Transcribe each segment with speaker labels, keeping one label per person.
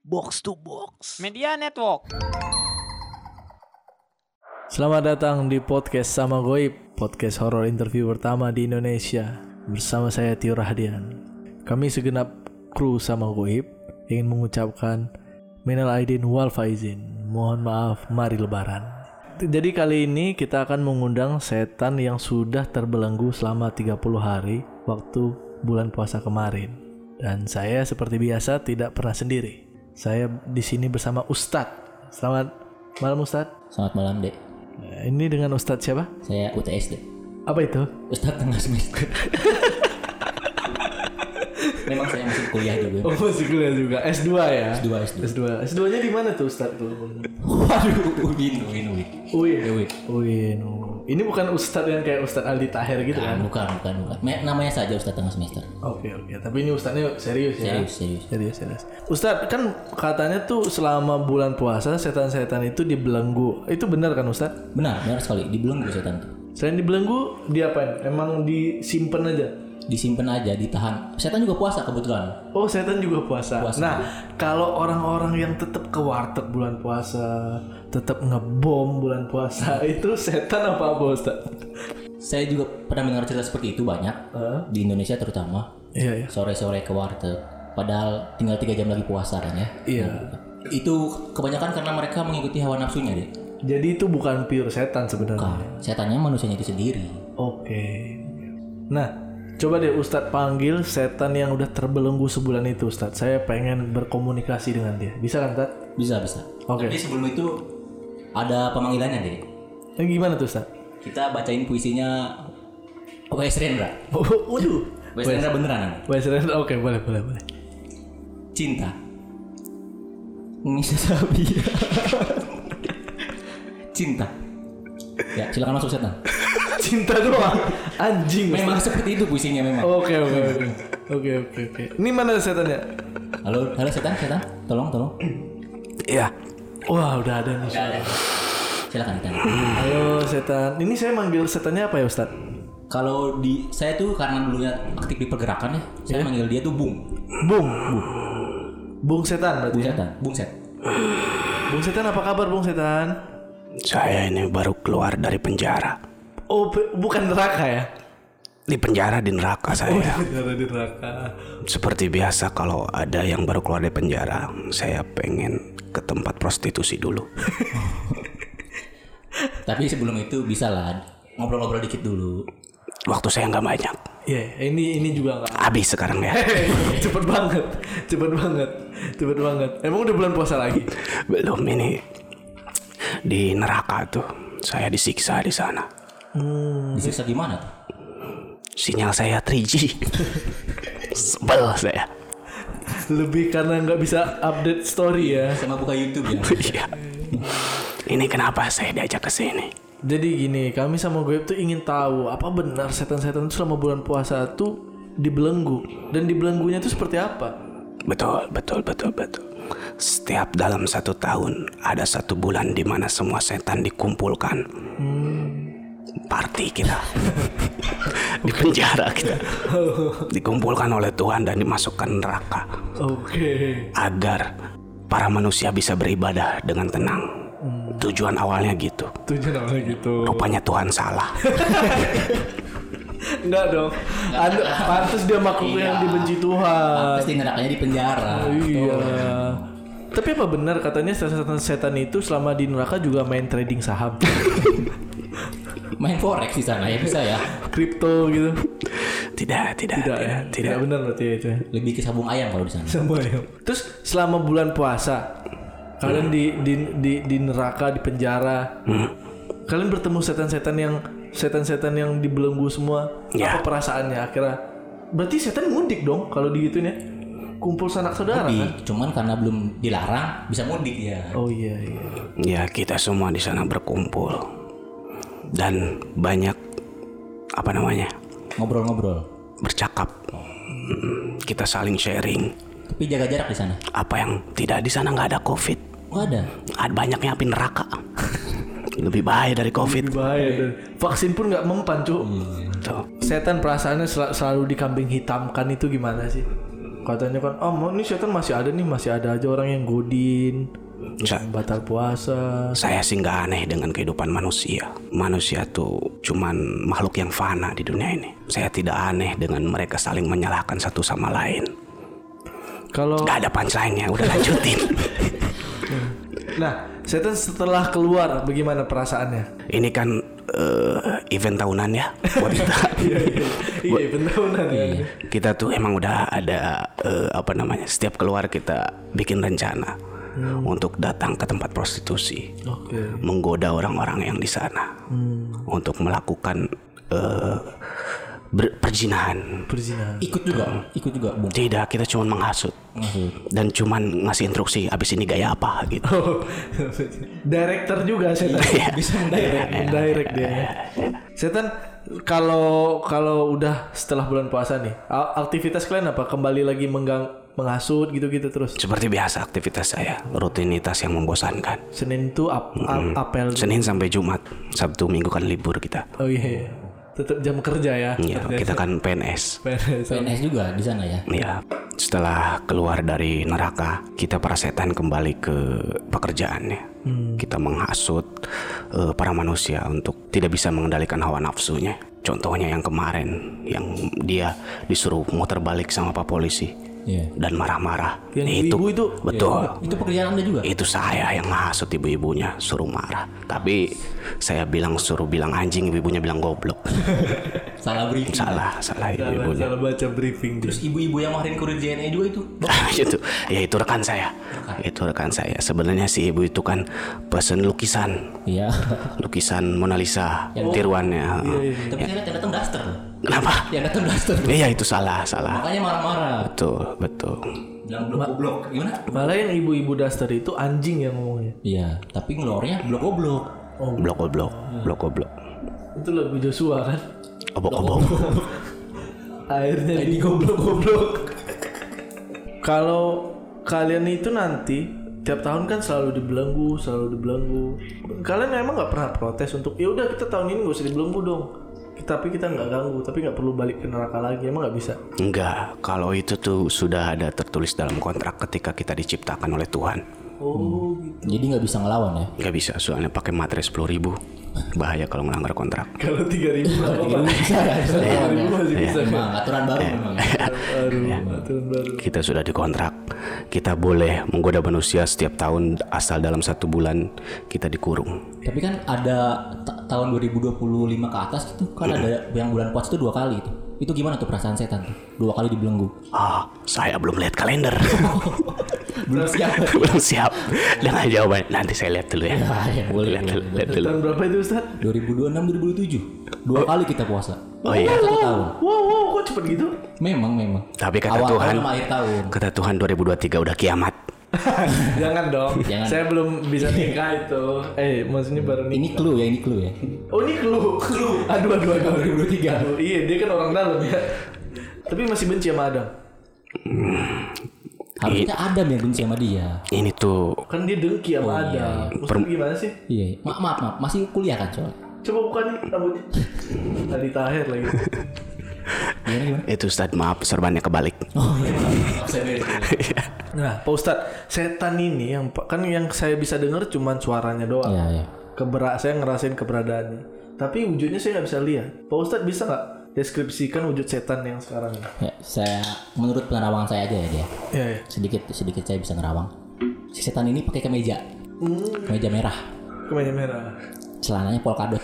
Speaker 1: box to box.
Speaker 2: Media Network.
Speaker 3: Selamat datang di podcast Sama Goib, podcast horor interview pertama di Indonesia. Bersama saya Tio Rahadian. Kami segenap kru Sama Goib ingin mengucapkan minal aidin wal faizin. Mohon maaf, mari lebaran. Jadi kali ini kita akan mengundang setan yang sudah terbelenggu selama 30 hari waktu bulan puasa kemarin. Dan saya seperti biasa tidak pernah sendiri. Saya di sini bersama Ustadz. Selamat malam Ustadz.
Speaker 4: Selamat malam, Dek.
Speaker 3: Nah, Ini dengan Ustadz siapa?
Speaker 4: Saya UTS, Dek.
Speaker 3: Apa itu?
Speaker 4: Ustadz tengah semester. Memang saya masih kuliah juga.
Speaker 3: Oh masih kuliah juga S2 ya?
Speaker 4: S2, S2.
Speaker 3: S2 S2 nya di mana tuh Ustadz tuh?
Speaker 4: Waduh, Udin, Udin, Udin.
Speaker 3: UIN
Speaker 4: Dewi.
Speaker 3: UIN Ini bukan Ustadz yang kayak Ustadz Aldi Tahir gitu
Speaker 4: Ah,
Speaker 3: kan?
Speaker 4: bukan, bukan, bukan. Me- namanya saja Ustadz tengah semester.
Speaker 3: Oke oke Tapi ini Ustadznya serius ya?
Speaker 4: Serius, serius.
Speaker 3: Serius serius Ustadz kan katanya tuh selama bulan puasa setan-setan itu dibelenggu Itu benar kan Ustadz?
Speaker 4: Benar, benar sekali. Dibelenggu setan tuh.
Speaker 3: Selain dibelenggu diapain? Emang disimpan aja?
Speaker 4: Disimpan aja, ditahan. Setan juga puasa kebetulan.
Speaker 3: Oh setan juga puasa.
Speaker 4: Puasa.
Speaker 3: Nah kalau orang-orang yang tetap ke warteg bulan puasa, tetap ngebom bulan puasa, itu setan apa apa Ustaz?
Speaker 4: Saya juga pernah mendengar cerita seperti itu banyak di Indonesia terutama
Speaker 3: Iya ya.
Speaker 4: sore-sore ke warteg. Padahal tinggal tiga jam lagi puasa kan ya.
Speaker 3: Iya.
Speaker 4: Itu kebanyakan karena mereka mengikuti hawa nafsunya, Dek.
Speaker 3: Jadi itu bukan pure setan sebenarnya.
Speaker 4: Bukan. Setannya manusianya itu sendiri.
Speaker 3: Oke. Nah coba deh Ustadz panggil setan yang udah terbelenggu sebulan itu Ustadz. Saya pengen berkomunikasi dengan dia. Bisa kan Ustadz?
Speaker 4: Bisa, bisa.
Speaker 3: Oke.
Speaker 4: Tapi sebelum itu ada pemanggilannya deh.
Speaker 3: Eh, gimana tuh Ustadz?
Speaker 4: Kita bacain puisinya Wes Rendra.
Speaker 3: Waduh.
Speaker 4: Wes Rendra beneran. ini.
Speaker 3: Wes, Oke boleh boleh boleh.
Speaker 4: Cinta. Ngisi sapi. Cinta. Ya, silakan masuk setan.
Speaker 3: Cinta doang. Anjing.
Speaker 4: Memang seperti itu puisinya memang.
Speaker 3: Oke oke oke oke oke oke. Ini mana setannya?
Speaker 4: Halo, halo setan, setan. Tolong, tolong.
Speaker 3: Iya. Wah udah ada nih. suara.
Speaker 4: Silakan setan.
Speaker 3: Halo setan. Ini saya manggil setannya apa ya Ustad?
Speaker 4: Kalau di saya tuh karena dulunya aktif di pergerakan ya, saya manggil dia tuh Bung.
Speaker 3: Bung. Bung. Bung setan berarti. ya?
Speaker 4: Bung setan, Bung set.
Speaker 3: Bung setan apa kabar Bung setan?
Speaker 1: Saya ini baru keluar dari penjara.
Speaker 3: Oh pe- bukan neraka ya?
Speaker 1: Di penjara di neraka saya.
Speaker 3: Penjara di neraka.
Speaker 1: Seperti biasa kalau ada yang baru keluar dari penjara, saya pengen ke tempat prostitusi dulu.
Speaker 4: Tapi sebelum itu bisa lah ngobrol-ngobrol dikit dulu.
Speaker 1: Waktu saya nggak banyak.
Speaker 3: Iya ini ini juga nggak.
Speaker 1: Habis sekarang ya.
Speaker 3: cepet banget, cepet banget, cepet banget. Emang udah bulan puasa lagi?
Speaker 1: Belum ini di neraka tuh. Saya disiksa di sana.
Speaker 4: Disiksa gimana tuh?
Speaker 1: Sinyal saya 3G. Sebel saya.
Speaker 3: Lebih karena nggak bisa update story ya.
Speaker 4: Sama buka YouTube ya.
Speaker 1: Iya. Ini kenapa saya diajak ke sini?
Speaker 3: Jadi gini, kami sama gue tuh ingin tahu apa benar setan-setan itu selama bulan puasa tuh dibelenggu dan dibelenggunya itu seperti apa?
Speaker 1: Betul, betul, betul, betul. Setiap dalam satu tahun ada satu bulan di mana semua setan dikumpulkan. Party kita di penjara kita dikumpulkan oleh Tuhan dan dimasukkan neraka
Speaker 3: Oke.
Speaker 1: agar para manusia bisa beribadah dengan tenang. Tujuan awalnya gitu.
Speaker 3: Tujuan awalnya gitu.
Speaker 1: Rupanya Tuhan salah.
Speaker 3: Enggak dong. Anda pantas dia makhluk yang
Speaker 4: Iya.
Speaker 3: dibenci Tuhan.
Speaker 4: Terus di nerakanya di penjara.
Speaker 3: Ah. Iya. Tapi apa benar katanya setan-setan itu selama di neraka juga main trading saham,
Speaker 4: Main forex di sana ya bisa ya.
Speaker 3: kripto gitu?
Speaker 1: Tidak, tidak,
Speaker 3: Tidak, ya?
Speaker 1: tidak, tidak.
Speaker 3: benar berarti ya itu. ya.
Speaker 4: Lebih ke sabung ayam kalau di sana.
Speaker 3: Terus selama bulan puasa kalian di di di, di neraka di penjara. Kalian bertemu setan-setan yang setan-setan yang dibelenggu semua.
Speaker 1: Ya.
Speaker 3: Apa perasaannya akhirnya? Berarti setan mudik dong kalau digituin ya. Kumpul sanak saudara
Speaker 4: Tapi
Speaker 3: kan?
Speaker 4: cuman karena belum dilarang bisa mudik ya.
Speaker 3: Oh iya iya.
Speaker 1: Ya kita semua di sana berkumpul dan banyak apa namanya
Speaker 4: Ngobrol-ngobrol.
Speaker 1: bercakap. Hmm, Kita saling sharing
Speaker 4: Tapi jaga jarak di sana.
Speaker 1: apa yang tidak di sana nggak ada covid.
Speaker 4: Enggak ada.
Speaker 1: Ada banyaknya api neraka. Lebih bahaya dari covid.
Speaker 3: Lebih bahaya dan Iya. vaksin pun nggak mempan, Cuk.
Speaker 1: Tuh.
Speaker 3: Setan perasaannya sel- selalu dikambing hitamkan itu gimana sih? Katanya kan, oh ini setan masih ada nih, masih ada aja orang yang godin,
Speaker 1: Sa-
Speaker 3: yang batal puasa.
Speaker 1: Saya sih nggak aneh dengan kehidupan manusia. Manusia tuh cuman makhluk yang fana di dunia ini. Saya tidak aneh dengan mereka saling menyalahkan satu sama lain.
Speaker 3: Kalau
Speaker 1: Gak ada punchline-nya, udah lanjutin.
Speaker 3: nah setan setelah keluar, bagaimana perasaannya?
Speaker 1: ini kan eh, event tahunan ya buat kita.
Speaker 3: iya, benar-benar. ya.
Speaker 1: kita tuh emang udah ada eh, apa namanya? Setiap keluar kita bikin rencana untuk datang ke tempat prostitusi.
Speaker 3: Oke.
Speaker 1: menggoda orang-orang yang di sana untuk melakukan eh, ber- perzinahan.
Speaker 3: Berzina.
Speaker 4: Ikut juga, ikut juga bung.
Speaker 1: Tidak, kita cuma menghasut dan cuman ngasih instruksi abis ini gaya apa gitu.
Speaker 3: Oh. Director juga setan. Bisa mendirect, mendirect dia. Setan kalau kalau udah setelah bulan puasa nih, a- aktivitas kalian apa? Kembali lagi menggang menghasut gitu-gitu terus.
Speaker 1: Seperti biasa aktivitas saya, rutinitas yang membosankan.
Speaker 3: Senin tuh ap, ap- apel.
Speaker 1: Senin sampai Jumat, Sabtu Minggu kan libur kita.
Speaker 3: Oh iya. iya. Tetap jam kerja ya.
Speaker 1: Iya, kita kan PNS.
Speaker 3: PNS.
Speaker 4: PNS juga di sana ya.
Speaker 1: Ya, setelah keluar dari neraka, kita para setan kembali ke pekerjaannya.
Speaker 3: Hmm.
Speaker 1: Kita menghasut eh, para manusia untuk tidak bisa mengendalikan hawa nafsunya. Contohnya yang kemarin, yang dia disuruh muter balik sama pak polisi
Speaker 4: Iya.
Speaker 1: dan marah-marah. Nah,
Speaker 3: Yang
Speaker 1: itu,
Speaker 3: ibu itu? Ya.
Speaker 1: betul.
Speaker 4: Itu pekerjaan anda juga.
Speaker 1: Itu saya yang menghasut ibu-ibunya suruh marah. Tapi saya bilang suruh bilang anjing, ibu-ibunya bilang goblok.
Speaker 4: Salah briefing.
Speaker 1: salah, salah
Speaker 3: Salah,
Speaker 1: ibu-ibunya.
Speaker 3: salah baca briefing terus.
Speaker 4: Terus ibu-ibu yang maharin kurir JNE E juga itu.
Speaker 1: itu ya itu rekan saya itu rekan saya sebenarnya si ibu itu kan pesen lukisan
Speaker 4: Iya.
Speaker 1: lukisan Mona Lisa tiruannya
Speaker 4: Tapi saya lihat yang datang daster. loh. Ya,
Speaker 1: kenapa
Speaker 4: Yang datang daster.
Speaker 1: iya itu salah salah
Speaker 4: Makanya marah-marah.
Speaker 1: betul betul
Speaker 4: Bilang blok goblok. Gimana?
Speaker 3: Malah yang ibu-ibu daster itu anjing yang ngomongnya.
Speaker 4: Iya. Tapi ngeluarnya blok goblok.
Speaker 1: blok blok blok blok
Speaker 3: Itu lagu Joshua kan.
Speaker 1: obok obok
Speaker 3: Akhirnya di goblok-goblok. Kalau kalian itu nanti tiap tahun kan selalu dibelenggu, selalu dibelenggu. Kalian emang nggak pernah protes untuk ya udah kita tahun ini nggak usah dibelenggu dong. Kita- Tapi kita nggak ganggu, tapi nggak perlu balik ke neraka lagi. Emang nggak bisa.
Speaker 1: enggak kalau itu tuh sudah ada tertulis dalam kontrak ketika kita diciptakan oleh Tuhan
Speaker 3: Oh,
Speaker 4: Jadi nggak bisa ngelawan ya.
Speaker 1: nggak bisa soalnya pakai materai sepuluh ribu bahaya kalau melanggar kontrak
Speaker 3: kalau tiga ribu,
Speaker 4: Jadi bisa ya. bisa ngelawan ya.
Speaker 3: masih bisa.
Speaker 1: Iya.
Speaker 3: kan?
Speaker 4: Emang aturan baru memang. ya.
Speaker 3: Aduh, aturan baru.
Speaker 1: kita sudah dikontrak kita boleh menggoda manusia setiap tahun asal dalam satu bulan kita dikurung
Speaker 4: Tapi kan ada ta- tahun 2025 ke atas gitu kan
Speaker 1: Iya.
Speaker 4: ada yang bulan puasa itu dua kali itu. Itu gimana tuh perasaan setan tuh? Dua kali dibelenggu.
Speaker 1: ah saya belum lihat kalender
Speaker 4: Belum siap.
Speaker 1: belum siap dengan jawaban nanti saya lihat dulu ya
Speaker 4: ya, boleh,
Speaker 1: lihat dulu, lihat dulu.
Speaker 3: Tahun berapa itu Ustaz?
Speaker 4: 2026 2027. Dua kali kita puasa.
Speaker 1: oh iya
Speaker 4: Satu tahun.
Speaker 3: Wow, wow, kok cepet gitu?
Speaker 4: Memang memang.
Speaker 1: tapi kata
Speaker 4: Awal
Speaker 1: Tuhan
Speaker 4: tahun sama akhir tahun.
Speaker 1: kata Tuhan 2023 udah kiamat
Speaker 3: Jangan dong.
Speaker 4: Jangan.
Speaker 3: Saya belum bisa nikah itu. Eh, maksudnya baru nikah.
Speaker 4: Ini clue ya, ini clue ya.
Speaker 3: Oh ini clue, clue. Aduh aduh aduh aduh.
Speaker 4: 2023.
Speaker 3: Aduh, iya dia kan orang dalam ya. Tapi masih benci sama Adam.
Speaker 4: Harusnya
Speaker 1: Iya.
Speaker 4: Adam yang benci sama dia.
Speaker 1: ini tuh
Speaker 3: Kan dia dengki sama Adam. Maksudnya gimana sih?
Speaker 4: Iya, iya. maaf maaf, maaf. masih kuliah kan soalnya.
Speaker 3: Coba bukan rambutnya. Tadi tahir lagi.
Speaker 4: Gimana gimana?
Speaker 1: itu Ustaz maaf serbannya kebalik
Speaker 4: Oh iya. Saya beres.
Speaker 3: Nah, Pak Ustadz, setan ini yang kan yang saya bisa dengar cuman suaranya doang.
Speaker 4: Iya iya.
Speaker 3: Kebera saya ngerasain keberadaannya. Tapi wujudnya saya nggak bisa lihat. Pak Ustadz bisa nggak deskripsikan wujud setan yang sekarang ini?
Speaker 4: Ya, saya menurut penerawangan saya aja ya dia.
Speaker 3: Iya, iya.
Speaker 4: Sedikit sedikit saya bisa nerawang. Si setan ini pakai kemeja. Kemeja merah.
Speaker 3: Kemeja merah.
Speaker 4: Celananya polkadot.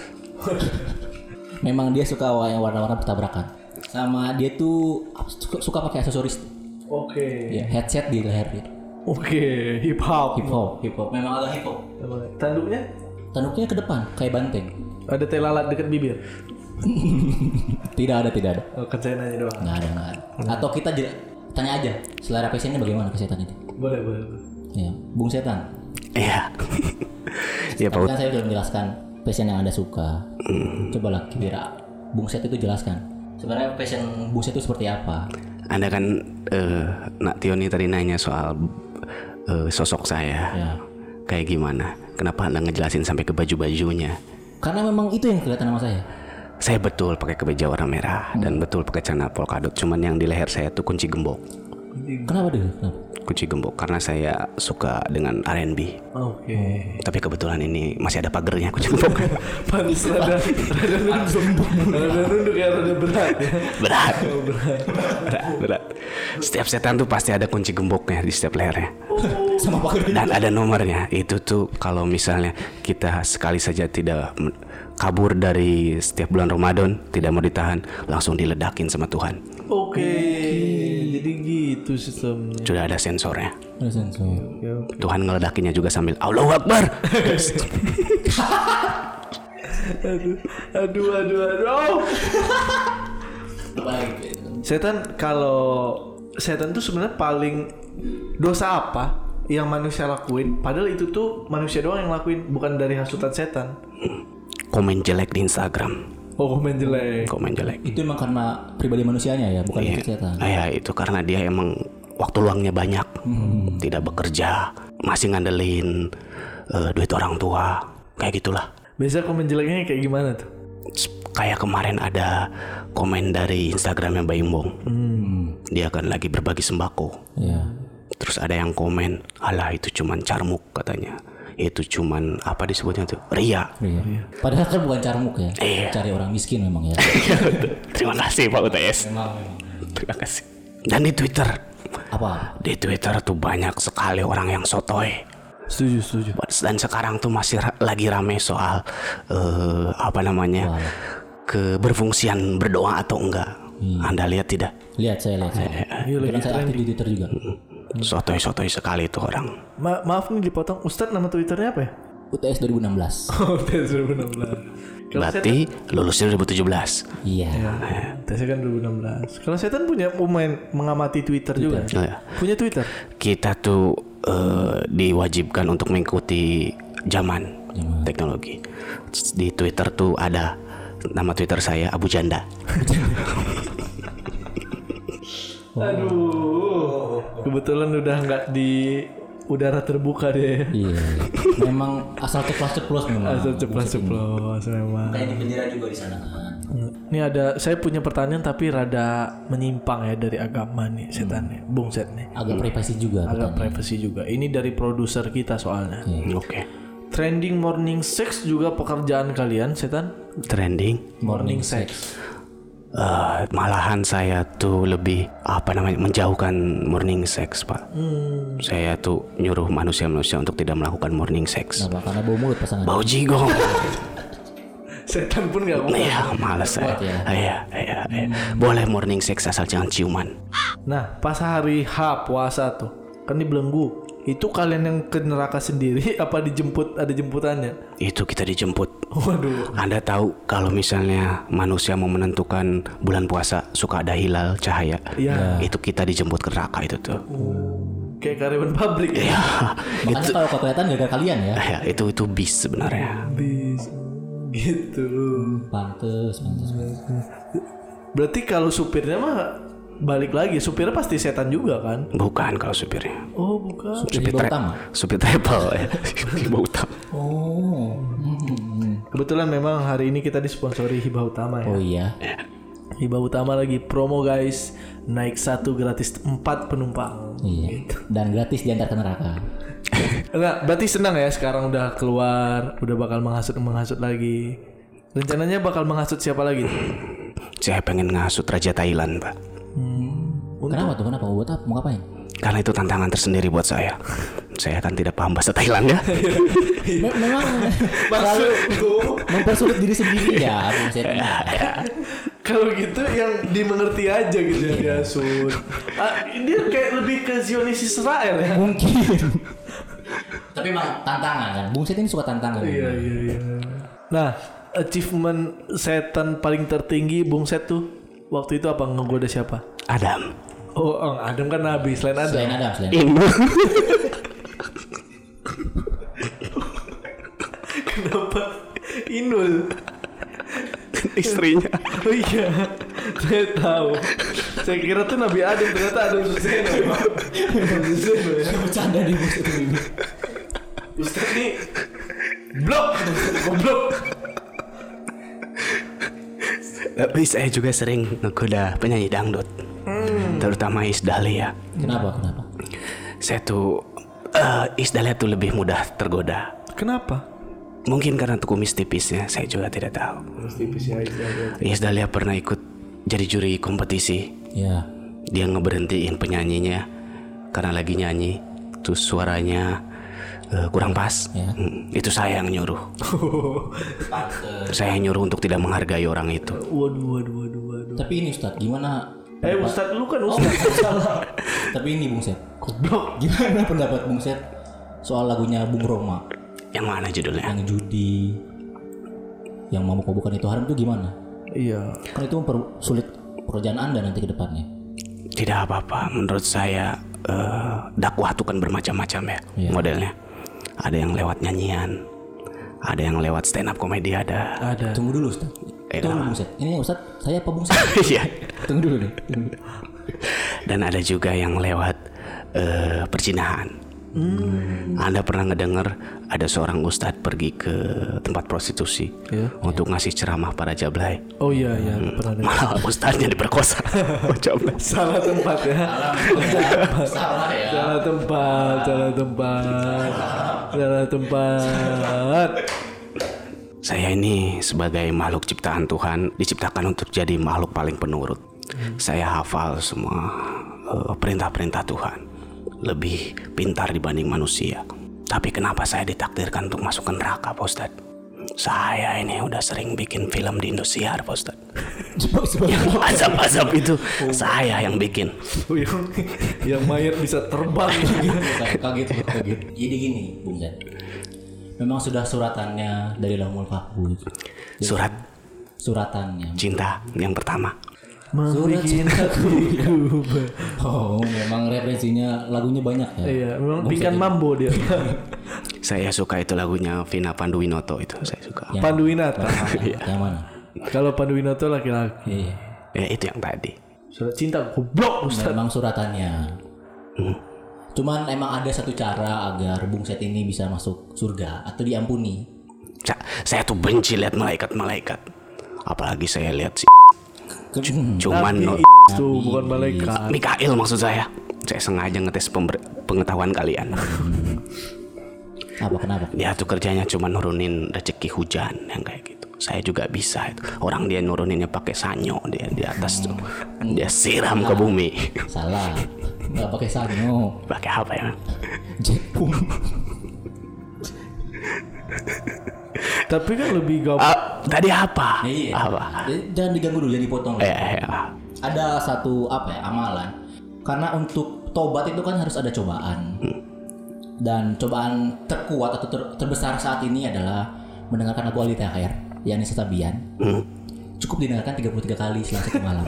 Speaker 4: Memang dia suka wa- yang warna-warna bertabrakan. Sama dia tuh suka, suka pakai aksesoris.
Speaker 3: Oke.
Speaker 4: Ya, headset di leher dia.
Speaker 3: Oke, hip hop.
Speaker 4: Hip hop, hip hop. Memang agak hip hop.
Speaker 3: Tanduknya
Speaker 4: Tanduknya ke depan kayak banteng.
Speaker 3: ada telalat dekat bibir.
Speaker 4: tidak ada, tidak ada.
Speaker 3: Oh, kan saya nanya doang.
Speaker 4: Nggak ada, nggak ada. Atau kita jela- tanya aja selera passionnya bagaimana ke setan itu.
Speaker 3: Boleh, boleh. boleh.
Speaker 4: Ya, Bung Setan.
Speaker 1: iya ya Pak
Speaker 4: Tadi kan saya sudah menjelaskan passion yang anda suka.
Speaker 3: Hmm.
Speaker 4: Cobalah kira Bung Set itu jelaskan. Sebenarnya passion Bung Set itu seperti apa?
Speaker 1: Anda kan eh, Nak Tio nih tadi nanya soal eh, sosok saya.
Speaker 4: Ya.
Speaker 1: Kayak gimana? Kenapa Anda ngejelasin sampai ke baju-bajunya?
Speaker 4: Karena memang itu yang kelihatan sama saya.
Speaker 1: Saya betul pakai kemeja warna merah dan betul pakai celana polkadot. Cuman yang di leher saya tuh kunci gembok.
Speaker 4: Kenapa deh? Kenapa?
Speaker 1: Kunci gembok karena saya suka dengan R&B.
Speaker 3: Oke.
Speaker 1: Tapi kebetulan ini masih ada pagernya kunci gembok.
Speaker 3: Pantes rada rada nunduk. Rada nunduk ya rada berat ya.
Speaker 1: berat. berat. Berat. Setiap setan tuh pasti ada kunci gemboknya di setiap lehernya.
Speaker 4: Sama Pak Gede.
Speaker 1: Dan ada nomornya. Itu tuh kalau misalnya kita sekali saja tidak men- kabur dari setiap bulan Ramadan, tidak mau ditahan, langsung diledakin sama Tuhan.
Speaker 3: Oke. Jadi gitu sistemnya.
Speaker 1: Sudah ada sensornya.
Speaker 4: Ada sensor.
Speaker 1: Tuhan ngeledakinnya juga sambil Allahu Akbar.
Speaker 3: Aduh, aduh, aduh, aduh. Oh. Setan kalau setan tuh sebenarnya paling dosa apa yang manusia lakuin? Padahal itu tuh manusia doang yang lakuin, bukan dari hasutan setan.
Speaker 1: Komen jelek di Instagram.
Speaker 3: Oh, komen jelek.
Speaker 1: Komen jelek.
Speaker 4: Itu emang karena pribadi manusianya
Speaker 3: Iya.
Speaker 4: ya, bukan itu setan.
Speaker 1: Ah, ya, itu karena dia emang waktu luangnya banyak, tidak bekerja, masih ngandelin eh, duit orang tua, kayak gitulah.
Speaker 3: Biasa komen jeleknya kayak gimana tuh?
Speaker 1: S- Kayak kemarin ada komen dari Instagramnya Mbak Imbong, dia kan lagi berbagi sembako.
Speaker 4: Iya.
Speaker 1: Terus ada yang komen, alah itu cuman carmuk katanya, itu cuman apa disebutnya tuh, ria.
Speaker 4: Iya. Padahal kan bukan carmuk ya.
Speaker 1: Iya.
Speaker 4: Cari orang miskin memang ya.
Speaker 1: Terima kasih Pak UTS.
Speaker 4: memang, memang.
Speaker 1: Terima kasih. Dan di Twitter,
Speaker 4: Apa?
Speaker 1: di Twitter tuh banyak sekali orang yang sotoy.
Speaker 3: Setuju, setuju.
Speaker 1: Dan sekarang tuh masih ra- lagi rame soal eh, apa namanya keberfungsian berdoa atau enggak. Anda lihat tidak?
Speaker 4: Lihat saya lihat saya.
Speaker 3: Iya, lagi
Speaker 4: Karena saya aktif di Twitter juga.
Speaker 1: Hmm. Sotoy-sotoy sekali itu orang.
Speaker 3: Ma- maaf nih dipotong. Ustadz nama Twitternya apa ya?
Speaker 4: UTS 2016.
Speaker 3: Oh, tes 2016. Kalau setan,
Speaker 1: Berarti lulusnya 2017.
Speaker 4: Iya.
Speaker 3: tesnya kan 2016. Kalau setan punya pemain mengamati Twitter juga.
Speaker 1: Iya.
Speaker 3: Punya Twitter.
Speaker 1: Kita tuh eh, diwajibkan untuk mengikuti zaman teknologi. Di Twitter tuh ada nama Twitter saya Abu Janda.
Speaker 3: Aduh. Oh. Kebetulan udah nggak di udara terbuka deh.
Speaker 4: Iya. Memang asal ceplos-ceplos memang.
Speaker 3: Asal ceplos-ceplos memang.
Speaker 4: Kayak di penjara juga di sana kan.
Speaker 3: Ini ada saya punya pertanyaan tapi rada menyimpang ya dari agama nih setannya, bung set nih.
Speaker 4: Agak privasi juga.
Speaker 3: Agak privacy juga. Ini dari produser kita soalnya.
Speaker 1: Oke.
Speaker 3: Trending morning sex juga pekerjaan kalian setan?
Speaker 1: Trending.
Speaker 4: Morning
Speaker 3: sex.
Speaker 1: Eh, malahan saya tuh lebih apa namanya menjauhkan morning sex pak. Saya tuh nyuruh manusia-manusia untuk tidak melakukan morning sex.
Speaker 4: Kenapa? Karena bau mulut pasangan.
Speaker 1: Bau jigong.
Speaker 3: Setan pun nggak mau.
Speaker 1: Iya, males saya.
Speaker 4: ya.
Speaker 1: Iya, iya, iya. Boleh morning sex asal jangan ciuman.
Speaker 3: Nah pas hari H puasa tuh kan dibelenggu. Itu kalian yang ke neraka sendiri apa dijemput ada jemputannya?
Speaker 1: Itu kita dijemput.
Speaker 3: Waduh.
Speaker 1: Anda tahu kalau misalnya manusia mau menentukan bulan puasa suka ada hilal cahaya.
Speaker 3: Iya.
Speaker 1: Itu kita dijemput ke neraka itu tuh.
Speaker 3: Kayak karyawan pabrik ya.
Speaker 4: Makanya kalau kelihatan gak ada kalian ya.
Speaker 1: Ya, itu itu bis sebenarnya.
Speaker 3: Bis. Gitu.
Speaker 4: Pantes, pantes. pantes.
Speaker 3: Berarti kalau supirnya mah balik lagi, supirnya pasti setan juga kan?
Speaker 1: Bukan kalau supirnya.
Speaker 3: Oh bukan.
Speaker 4: Jadi bau utama.
Speaker 1: supir travel ya Tiba utama
Speaker 4: Oh.
Speaker 3: Kebetulan memang hari ini kita disponsori hibah utama ya.
Speaker 4: Oh iya.
Speaker 3: Hibah utama lagi promo guys, naik satu gratis 4 penumpang.
Speaker 4: Iya. Dan gratis diantar ke neraka.
Speaker 3: Nah, berarti senang ya sekarang udah keluar, udah bakal menghasut menghasut lagi. Rencananya bakal menghasut siapa lagi?
Speaker 1: saya pengen ngasut raja Thailand pak
Speaker 4: Kenapa tuh? Kenapa? Buat apa? Mau ngapain?
Speaker 1: karena itu tantangan tersendiri buat saya saya kan tidak paham bahasa Thailand ya
Speaker 3: Iya.
Speaker 4: Me- Memang selalu
Speaker 3: gitu,
Speaker 4: mempersulit diri sendiri ya. Bung Seti.
Speaker 3: Iya. Kalau gitu yang dimengerti aja gitu ya dihasut. Ah, dia kayak lebih ke Zionis Israel ya.
Speaker 4: Mungkin. Tapi emang tantangan kan. Bung Set ini suka tantangan.
Speaker 3: Iya iya iya. Nah, achievement setan paling tertinggi Bung Set tuh waktu itu apa ngegoda siapa?
Speaker 1: Adam
Speaker 3: Oh, Eng, Adam kan Nabi selain Adam.
Speaker 4: Selain Adam,
Speaker 3: Iya.
Speaker 4: selain
Speaker 1: Im
Speaker 3: Kenapa? Inul.
Speaker 1: istrinya
Speaker 3: Oh iya, saya tahu. Saya kira tuh Nabi Adam ternyata Adam Suseno. Adam Suseno ya.
Speaker 4: bercanda di bus itu
Speaker 3: Ustaz nih blok, goblok.
Speaker 1: tapi saya juga sering ngegoda penyanyi dangdut terutama ya. Isdalia.
Speaker 4: Kenapa? Kenapa?
Speaker 1: Saya tuh eh, Isdalia tuh lebih mudah tergoda.
Speaker 3: Kenapa?
Speaker 1: Mungkin karena kumis tipisnya, saya juga tidak tahu. Isdalia pernah ikut jadi juri kompetisi.
Speaker 4: Ya.
Speaker 1: Dia ngeberhentiin penyanyinya karena lagi nyanyi, terus suaranya eh, kurang pas.
Speaker 4: Ya.
Speaker 1: Mm, Itu saya yang nyuruh. Saya yang nyuruh untuk tidak menghargai orang itu.
Speaker 3: Waduh, waduh, waduh, waduh.
Speaker 4: Tapi ini Ustadz gimana?
Speaker 2: Eh Ustadz lu kan
Speaker 3: Oh,
Speaker 2: Ustadz
Speaker 4: Tapi ini Bung Set. Goblok. Gimana pendapat Bung Set soal lagunya Bung Roma
Speaker 1: Yang mana judulnya?
Speaker 4: yang judi yang mabuk-mabukan itu haram itu gimana?
Speaker 3: Iya.
Speaker 4: Kan itu mempersulit pekerjaan Anda nanti ke depannya.
Speaker 1: Tidak apa-apa, menurut saya eh, dakwah itu kan bermacam-macam ya modelnya. Ada yang lewat nyanyian, ada yang lewat stand up komedi ada.
Speaker 3: Ada.
Speaker 4: Tunggu dulu Ustaz.
Speaker 1: Eh,
Speaker 4: Tunggu dulu, Bung Set. Ini yang Ustaz, saya apa Bung Set?
Speaker 1: Iya.
Speaker 4: Tunggu dulu nih. Tunggu.
Speaker 1: Dan ada juga yang lewat eh, perjinahan. Anda pernah ngedenger ada seorang ustadz pergi ke tempat prostitusi
Speaker 3: Iya.
Speaker 1: untuk ngasih ceramah para jablay.
Speaker 3: Oh iya, iya. Pernah dengar.
Speaker 1: Malah ustadznya diperkosa. Oh, jablay.
Speaker 3: Salah tempat ya.
Speaker 4: Salah ya.
Speaker 3: Salah tempat, salah tempat, salah tempat.
Speaker 1: Saya ini sebagai makhluk ciptaan Tuhan diciptakan untuk jadi makhluk paling penurut. Saya hafal semua eh, perintah-perintah Tuhan. Lebih pintar dibanding manusia. Tapi kenapa saya ditakdirkan untuk masuk ke neraka, Pak Ustadz? Saya ini udah sering bikin film di Indosiar, Pak Ustadz. yang azab-azab itu saya yang bikin.
Speaker 3: yang, yang mayat bisa terbang.
Speaker 4: Saya kaget kaget jadi gini bung Zan memang sudah suratannya dari Lamul Fakbud
Speaker 1: Surat
Speaker 4: suratannya
Speaker 1: cinta yang pertama.
Speaker 3: Membikin aku berubah.
Speaker 4: oh memang referensinya lagunya banyak ya
Speaker 3: Iya, memang bikin mambo dia.
Speaker 1: Iya. Saya suka itu lagunya Vina Panduwinoto itu saya suka.
Speaker 3: Ya.
Speaker 4: Yang-
Speaker 3: Panduwinata.
Speaker 4: yang mana
Speaker 3: Kalau Panduwinata laki-laki.
Speaker 4: iya
Speaker 1: Ya, itu yang tadi.
Speaker 3: Surat cinta goblok Ustaz.
Speaker 1: Iya.
Speaker 4: memang suratannya
Speaker 1: Hmm.
Speaker 4: cuman emang ada satu cara agar bung Set ini bisa masuk surga atau diampuni
Speaker 1: Sa- saya tuh benci lihat malaikat-malaikat. Apalagi saya lihat si
Speaker 4: Ke-
Speaker 1: cuman no- Iya.
Speaker 3: Itu bukan malaikat.
Speaker 1: Mikail maksud saya. Saya sengaja ngetes pember- pengetahuan kalian.
Speaker 4: apa kenapa
Speaker 1: Dia tuh kerjanya cuma nurunin rezeki hujan yang kayak gitu. Saya juga bisa itu. Orang dia nuruninnya pakai sanyo dia di atas tuh. Dia siram ke bumi.
Speaker 4: salah nggak pakai sanyo
Speaker 1: pakai apa ya?
Speaker 4: jepung
Speaker 3: Tapi kan lebih gabung.
Speaker 1: Ah, tadi apa?
Speaker 4: Iya.
Speaker 1: Apa?
Speaker 4: Jadi jangan diganggu dulu jangan dipotong
Speaker 1: Eh, eh, eh.
Speaker 4: ada satu apa ya amalan karena untuk tobat itu kan harus ada cobaan dan cobaan terkuat atau ter- terbesar saat ini adalah mendengarkan lagu Aldi THR yakni Setabian cukup didengarkan 33 kali selama satu malam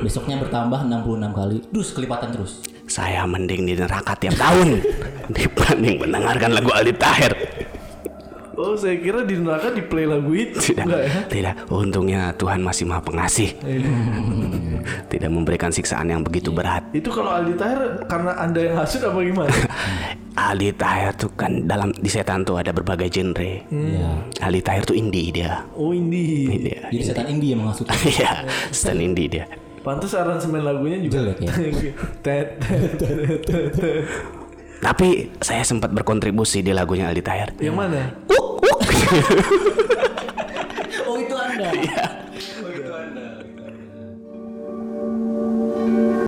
Speaker 4: besoknya bertambah 66 kali terus kelipatan terus
Speaker 1: Saya mending di neraka tiap tahun dibanding mendengarkan lagu Aldi Tahir.
Speaker 3: Oh, saya kira di neraka di play lagu itu.
Speaker 1: Tidak,
Speaker 3: Enggak ya? Iya.
Speaker 1: tidak. Untungnya Tuhan masih maha pengasih. tidak memberikan siksaan yang begitu berat.
Speaker 3: Itu kalau Aldi Tahir karena Anda yang hasut apa gimana?
Speaker 1: Ali Tahir tuh kan dalam di setan tuh ada berbagai genre.
Speaker 4: Iya.
Speaker 1: Ali Tahir tuh indie dia.
Speaker 3: Oh, ini.
Speaker 1: Dia.
Speaker 4: jadi setan India yang menghasut
Speaker 1: Iya, stand indie dia.
Speaker 3: Pantas aransemen lagunya juga
Speaker 4: Jelek ya?
Speaker 3: Tet, tet, tet, tet, tet.
Speaker 1: Tapi saya sempat berkontribusi di lagunya Ali Tahir.
Speaker 3: Yang mana?
Speaker 1: Uk, uk.
Speaker 4: oh itu anda